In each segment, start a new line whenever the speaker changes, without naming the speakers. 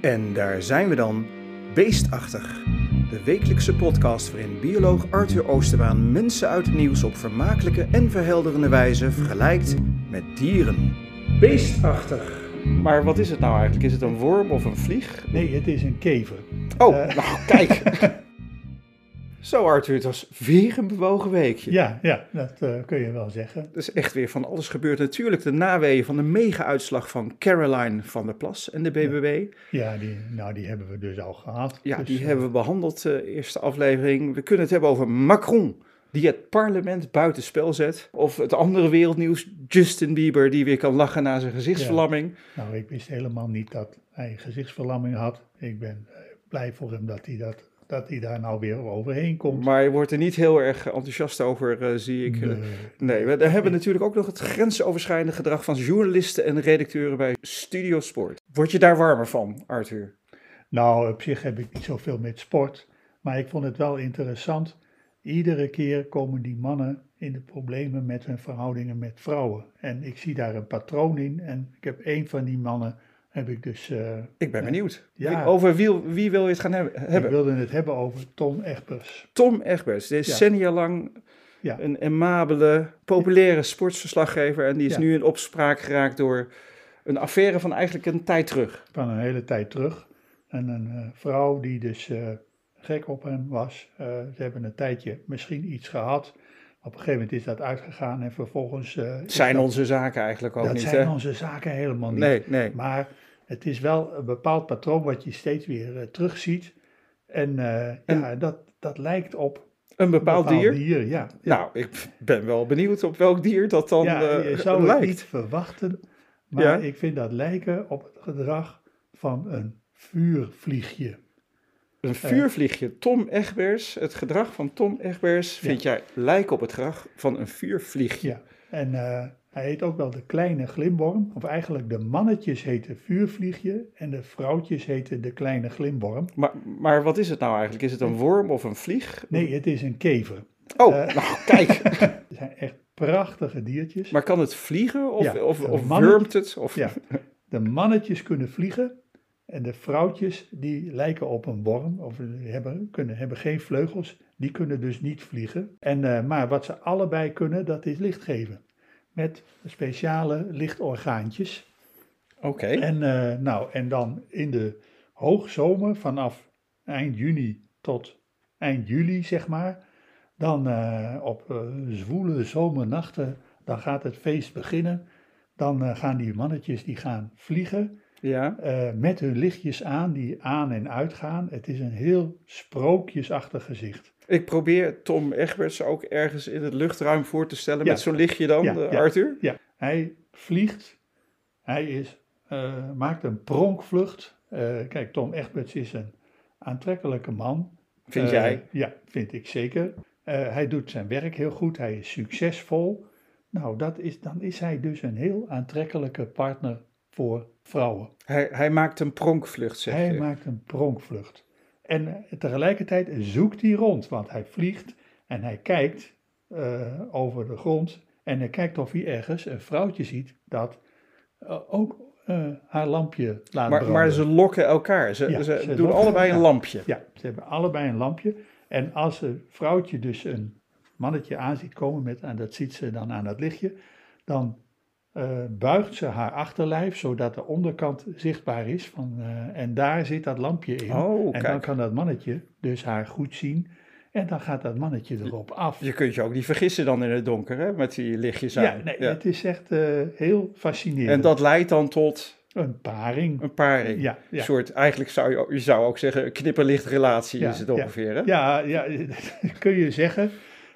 En daar zijn we dan, Beestachtig. De wekelijkse podcast waarin bioloog Arthur Oosterbaan mensen uit het nieuws op vermakelijke en verhelderende wijze vergelijkt met dieren. Beestachtig. Maar wat is het nou eigenlijk? Is het een worm of een vlieg?
Nee, het is een kever.
Oh,
Eh.
nou kijk. Zo Arthur, het was weer een bewogen weekje.
Ja, ja dat eh, kun je wel zeggen.
Er is echt weer van alles gebeurd. Natuurlijk de naweeën van de mega-uitslag van Caroline van der Plas en de BBB.
Ja, die, nou, die hebben we dus al gehad.
Ja,
Dus,
die
eh,
hebben we behandeld, de eerste aflevering. We kunnen het hebben over Macron, die het parlement buitenspel zet. Of het andere wereldnieuws, Justin Bieber, die weer kan lachen na zijn gezichtsverlamming.
Nou, ik wist helemaal niet dat hij gezichtsverlamming had. Ik ben eh, blij voor hem dat hij, dat, dat hij daar nou weer overheen komt.
Maar je wordt er niet heel erg enthousiast over, eh, zie ik.
Eh,
Nee, we daar hebben we natuurlijk ook nog het grensoverschrijdende gedrag van journalisten en redacteuren bij Studio Sport. Word je daar warmer van, Arthur?
nou, op zich heb ik niet zoveel met sport. Maar ik vond het wel interessant. Iedere keer komen die mannen in de problemen met hun verhoudingen met vrouwen. En ik zie daar een patroon in. En ik heb één van die mannen, heb ik dus eh,
Ik ben benieuwd.
Ja.
Over wie, wie wil je het gaan heb- hebben?
Ik wilde het hebben over Tom Egbers.
Tom Egberts, decennia lang
Ja.
een emabele, populaire sportsverslaggever. En die is
Ja.
nu in opspraak geraakt door een affaire van eigenlijk een tijd terug.
Van een hele tijd terug. En een eh, vrouw die dus eh, gek op hem was. Eh, ze hebben een tijdje misschien iets gehad. Op een gegeven moment is dat uitgegaan en vervolgens... eh, is
Zijn
dat,
onze zaken eigenlijk ook
Dat
niet,
zijn
hè?
onze zaken helemaal niet.
Nee, nee.
Maar het is wel een bepaald patroon wat je steeds weer eh, terugziet. En, eh,
En-
ja, dat, dat lijkt op een
Een bepaald, dier?
ja.
Nou, ik ben wel benieuwd op welk dier dat dan
ja,
eh,
je zou het
lijkt.
niet verwachten, maar
Ja.
ik vind dat lijken op het gedrag van een vuurvliegje. eh,
Een vuurvliegje. Tom Egbers, het gedrag van Tom Egbers vind jij lijkt op het gedrag van een vuurvliegje.
Ja. En eh, hij heet ook wel de kleine glimworm, of eigenlijk de mannetjes heten vuurvliegje en de vrouwtjes heten de kleine glimworm.
Maar, maar wat is het nou eigenlijk? Is het een worm of een vlieg?
Nee, het is een kever.
Oh,
eh.
nou kijk.
Het zijn echt prachtige diertjes.
Maar kan het vliegen of,
Ja,
of,
de
of
mannen-
wurmt het? Of...
Ja, de mannetjes kunnen vliegen en de vrouwtjes die lijken op een worm of hebben, kunnen, hebben geen vleugels. Die kunnen dus niet vliegen. En, eh, maar wat ze allebei kunnen, dat is licht geven. Met speciale lichtorgaantjes.
Oké.
En, eh, nou, en dan in de hoogzomer vanaf eind juni tot eind juli, zeg maar. Dan eh, op eh, zwoele zomernachten, dan gaat het feest beginnen. Dan eh, gaan die mannetjes die gaan vliegen.
Ja.
Eh, met hun lichtjes aan die aan en uitgaan. Het is een heel sprookjesachtig gezicht.
Ik probeer Tom Egberts ook ergens in het luchtruim voor te stellen
Ja.
met zo'n lichtje dan,
Ja,
eh,
ja.
Arthur.
Ja, hij vliegt, hij is, eh, maakt een pronkvlucht. Eh, kijk, Tom Egberts is een aantrekkelijke man.
Vind
Eh,
jij?
Ja, vind ik zeker. Eh, hij doet zijn werk heel goed, hij is succesvol. Nou, dat is, dan is hij dus een heel aantrekkelijke partner voor vrouwen.
Hij, hij maakt een pronkvlucht, zeg
Hij
je.
maakt een pronkvlucht. En eh, tegelijkertijd zoekt hij rond, want hij vliegt en hij kijkt eh, over de grond en hij kijkt of hij ergens een vrouwtje ziet dat eh, ook eh, haar lampje laat
Maar,
branden.
maar ze lokken elkaar. Ze,
Ja,
ze
ze
doen
lokken
allebei een
elkaar.
lampje.
Ja, ze hebben allebei een lampje. En als een vrouwtje dus een mannetje aan ziet komen, met, en dat ziet ze dan aan dat lichtje, dan eh, buigt ze haar achterlijf zodat de onderkant zichtbaar is. Van, eh, en daar zit dat lampje in.
Oh,
en dan
kijk.
kan dat mannetje dus haar goed zien. En dan gaat dat mannetje erop af.
Je kunt je ook niet vergissen dan in het donker, hè, met die lichtjes aan.
ja, nee,
Ja.
het is echt eh, heel fascinerend.
En dat leidt dan tot
Een paring.
een paring.
Ja, ja.
Een soort, eigenlijk zou je, ook- je zou ook zeggen, een knipperlichtrelatie
Ja,
is het
ja.
ongeveer, hè?
Ja, ja dat kun je zeggen.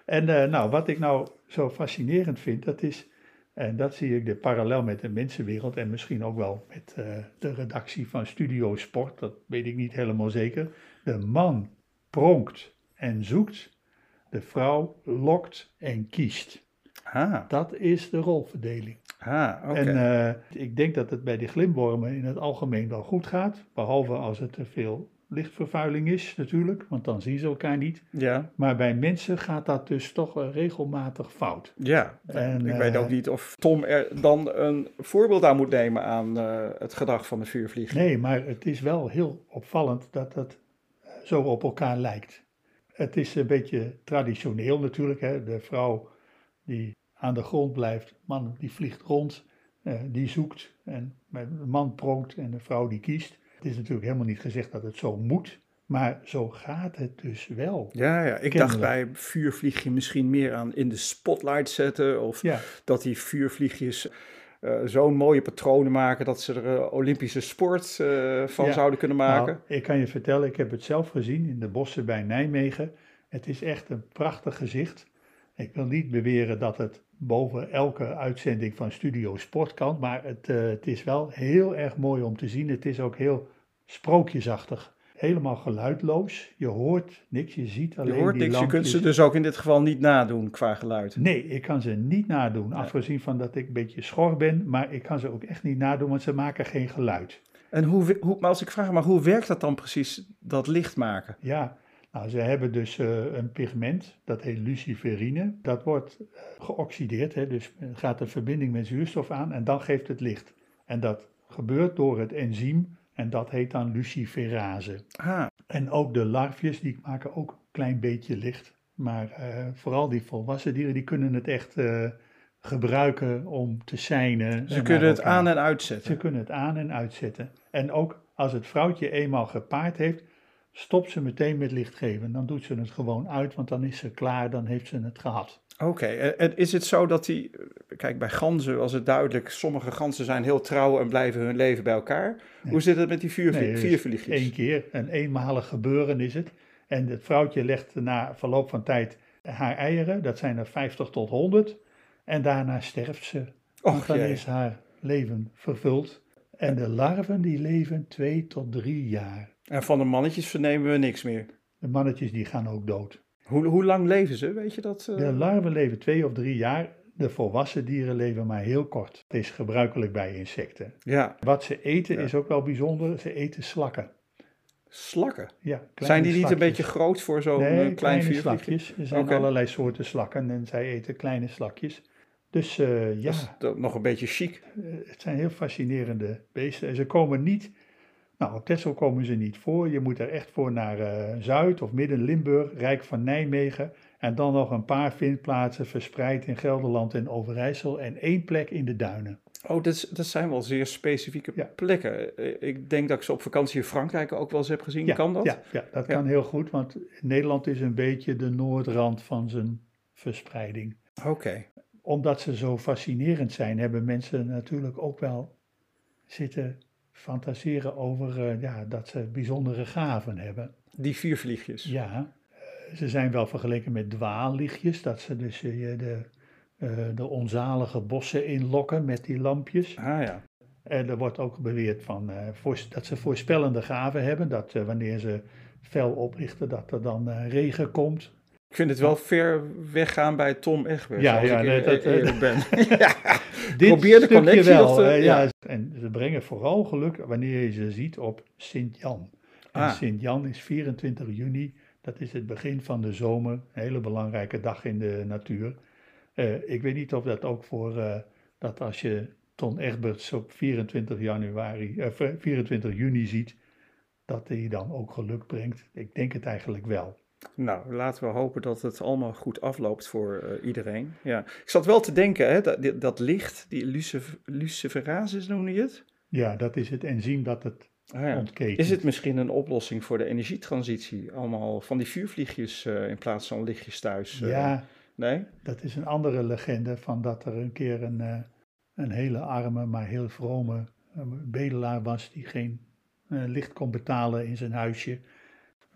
En eh, nou, wat ik nou zo fascinerend vind, dat is, en dat zie ik de parallel met de mensenwereld en misschien ook wel met eh, de redactie van Studio Sport, dat weet ik niet helemaal zeker. De man pronkt en zoekt, de vrouw lokt en kiest.
Ah,
Dat is de rolverdeling.
ah oké.
En eh, ik denk dat het bij die glimwormen in het algemeen wel goed gaat, behalve als er te veel lichtvervuiling is natuurlijk, want dan zien ze elkaar niet.
Ja,
Maar bij mensen gaat dat dus toch eh, regelmatig fout.
ja.
En,
ik weet
eh,
ook niet of Tom er dan een voorbeeld aan moet nemen aan eh, het gedrag van de vuurvlieg.
Nee, maar het is wel heel opvallend dat dat eh, zo op elkaar lijkt. Het is een beetje traditioneel natuurlijk. Hè? De vrouw die aan de grond blijft, man die vliegt rond, eh, die zoekt en met- de man pronkt en de vrouw die kiest. Het is natuurlijk helemaal niet gezegd dat het zo moet, maar zo gaat het dus wel.
Ja, ja, ik dacht
Kennelijk.
bij vuurvliegje misschien meer aan in de spotlight zetten. Of
Ja,
dat die vuurvliegjes eh, zo'n mooie patronen maken dat ze er eh, Olympische sport eh, van
Ja.
zouden kunnen maken.
Nou, ik kan je vertellen, ik heb het zelf gezien in de bossen bij Nijmegen. Het is echt een prachtig gezicht. Ik wil niet beweren dat het boven elke uitzending van Studio Sport kan, maar het, eh, het is wel heel erg mooi om te zien. Het is ook heel sprookjesachtig. Helemaal geluidloos. Je hoort niks, je ziet alleen
je hoort
die
niks, je kunt
lampjes.
ze dus ook in dit geval niet nadoen qua geluid.
Nee, ik kan ze niet nadoen. Afgezien van dat ik een beetje schor ben, maar ik kan ze ook echt niet nadoen, want ze maken geen geluid.
En hoe, we- hoe, maar als ik vraag, maar hoe werkt dat dan precies, dat licht maken?
Ja, nou, ze hebben dus eh, een pigment, dat heet luciferine. Dat wordt eh, geoxideerd, hè, dus gaat een verbinding met zuurstof aan en dan geeft het licht. En dat gebeurt door het enzym en dat heet dan luciferase.
Ah,
En ook de larfjes, die maken ook een klein beetje licht. Maar eh, vooral die volwassen dieren, die kunnen het echt eh, gebruiken om te zijn.
ze kunnen het aan en uitzetten.
Ze kunnen het aan en uitzetten. En ook als het vrouwtje eenmaal gepaard heeft, stopt ze meteen met licht geven. Dan doet ze het gewoon uit, want dan is ze klaar, dan heeft ze het gehad.
Oké, en, en is het zo dat die, kijk bij ganzen was het duidelijk, sommige ganzen zijn heel trouw en blijven hun leven bij elkaar. Hoe zit het met die vuurvlie-
Nee, dus
vuurvliegjes?
Eén keer, een eenmalig gebeuren is het. En het vrouwtje legt na verloop van tijd haar eieren, dat zijn er 50 tot 100. En daarna sterft ze, want
Och
dan
jee.
is haar leven vervuld. En de larven die leven twee tot drie jaar.
En van de mannetjes vernemen we niks meer.
De mannetjes die gaan ook dood.
Hoe, hoe lang leven ze, weet je dat? eh?
De larven leven twee of drie jaar, de volwassen dieren leven maar heel kort. Het is gebruikelijk bij insecten.
Ja,
Wat ze eten
Ja.
is ook wel bijzonder, ze eten slakken.
slakken.
Ja, kleine
zijn die niet
slakjes.
een beetje groot voor zo'n eh,
nee,
klein
kleine
vuurvliegje?
slakjes. Er zijn
Oké.
allerlei soorten slakken en zij eten kleine slakjes. Dus eh, ja,
Dat is toch nog een beetje chic.
eh, het zijn heel fascinerende beesten. En ze komen niet, nou op Texel komen ze niet voor. Je moet er echt voor naar eh, Zuid of Midden-Limburg, Rijk van Nijmegen. En dan nog een paar vindplaatsen verspreid in Gelderland en Overijssel. En één plek in de duinen.
Oh, dat, is- dat zijn wel zeer specifieke
Ja.
plekken. Eh, Ik denk dat ik ze op vakantie in Frankrijk ook wel eens heb gezien. kan dat?
Ja, ja dat
Ja.
kan heel goed, want Nederland is een beetje de noordrand van zijn verspreiding.
Oké.
Omdat ze zo fascinerend zijn, hebben mensen natuurlijk ook wel zitten fantaseren over eh, ja, dat ze bijzondere gaven hebben.
Die vuurvliegjes.
Ja, eh, ze zijn wel vergeleken met dwaallichtjes, dat ze dus eh, je de, eh, de onzalige bossen inlokken met die lampjes.
Ah ja.
En er wordt ook beweerd van, eh, voors- dat ze voorspellende gaven hebben, dat eh, wanneer ze fel oplichten, dat er dan eh, regen komt.
Ik vind het wel ver weggaan bij Tom Egbers.
Ja,
als
ja,
ik
nee,
eer-
dat, eh,
eerlijk ben. ja.
Dit
Probeer de
stukje
connectie
wel.
nog te-
eh, ja.
ja.
En ze brengen vooral geluk wanneer je ze ziet op Sint-Jan. En
Ah.
Sint-Jan is 24 juni. Dat is het begin van de zomer. Een hele belangrijke dag in de natuur. Eh, ik weet niet of dat ook voor eh, dat als je Ton Egberts op 24, januari, eh, 24 juni ziet, dat hij dan ook geluk brengt. Ik denk het eigenlijk wel.
Nou, laten we hopen dat het allemaal goed afloopt voor eh, iedereen. Ja. Ik zat wel te denken, hè, dat, dit- dat licht, die lucif luciferasis noemde je het?
Ja, dat is het enzym dat het
Ah, ja.
ontketent.
Is het misschien een oplossing voor de energietransitie? Allemaal van die vuurvliegjes eh, in plaats van lichtjes thuis. eh,
Ja.
Nee?
Dat is een andere legende van dat er een keer een, eh, een hele arme, maar heel vrome eh, bedelaar was die geen eh, licht kon betalen in zijn huisje.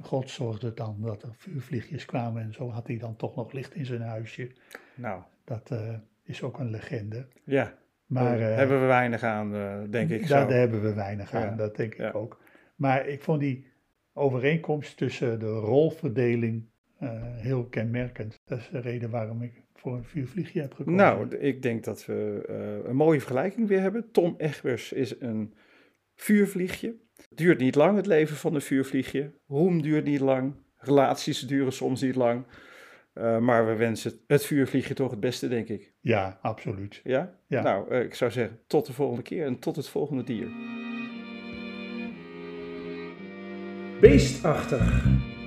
God zorgde dan dat er vuurvliegjes kwamen en zo had hij dan toch nog licht in zijn huisje.
Nou,
Dat eh, is ook een legende.
ja.
Maar
daar
eh,
Oh, hebben we weinig aan, eh, denk ik
daar,
zo.
daar hebben we weinig aan,
Ja,
dat denk
ja.
ik ook. Maar ik vond die overeenkomst tussen de rolverdeling eh, heel kenmerkend. Dat is de reden waarom ik voor een vuurvliegje heb gekozen.
Nou, d- ik denk dat we eh, een mooie vergelijking weer hebben. Tom Egbers is een vuurvliegje. duurt niet lang, het leven van een vuurvliegje. Roem duurt niet lang. Relaties duren soms niet lang. Eh, maar we wensen het vuurvliegje toch het beste, denk ik.
Ja, absoluut.
Ja?
Ja.
Nou, eh, ik zou zeggen tot de volgende keer en tot het volgende dier. Beestachtig.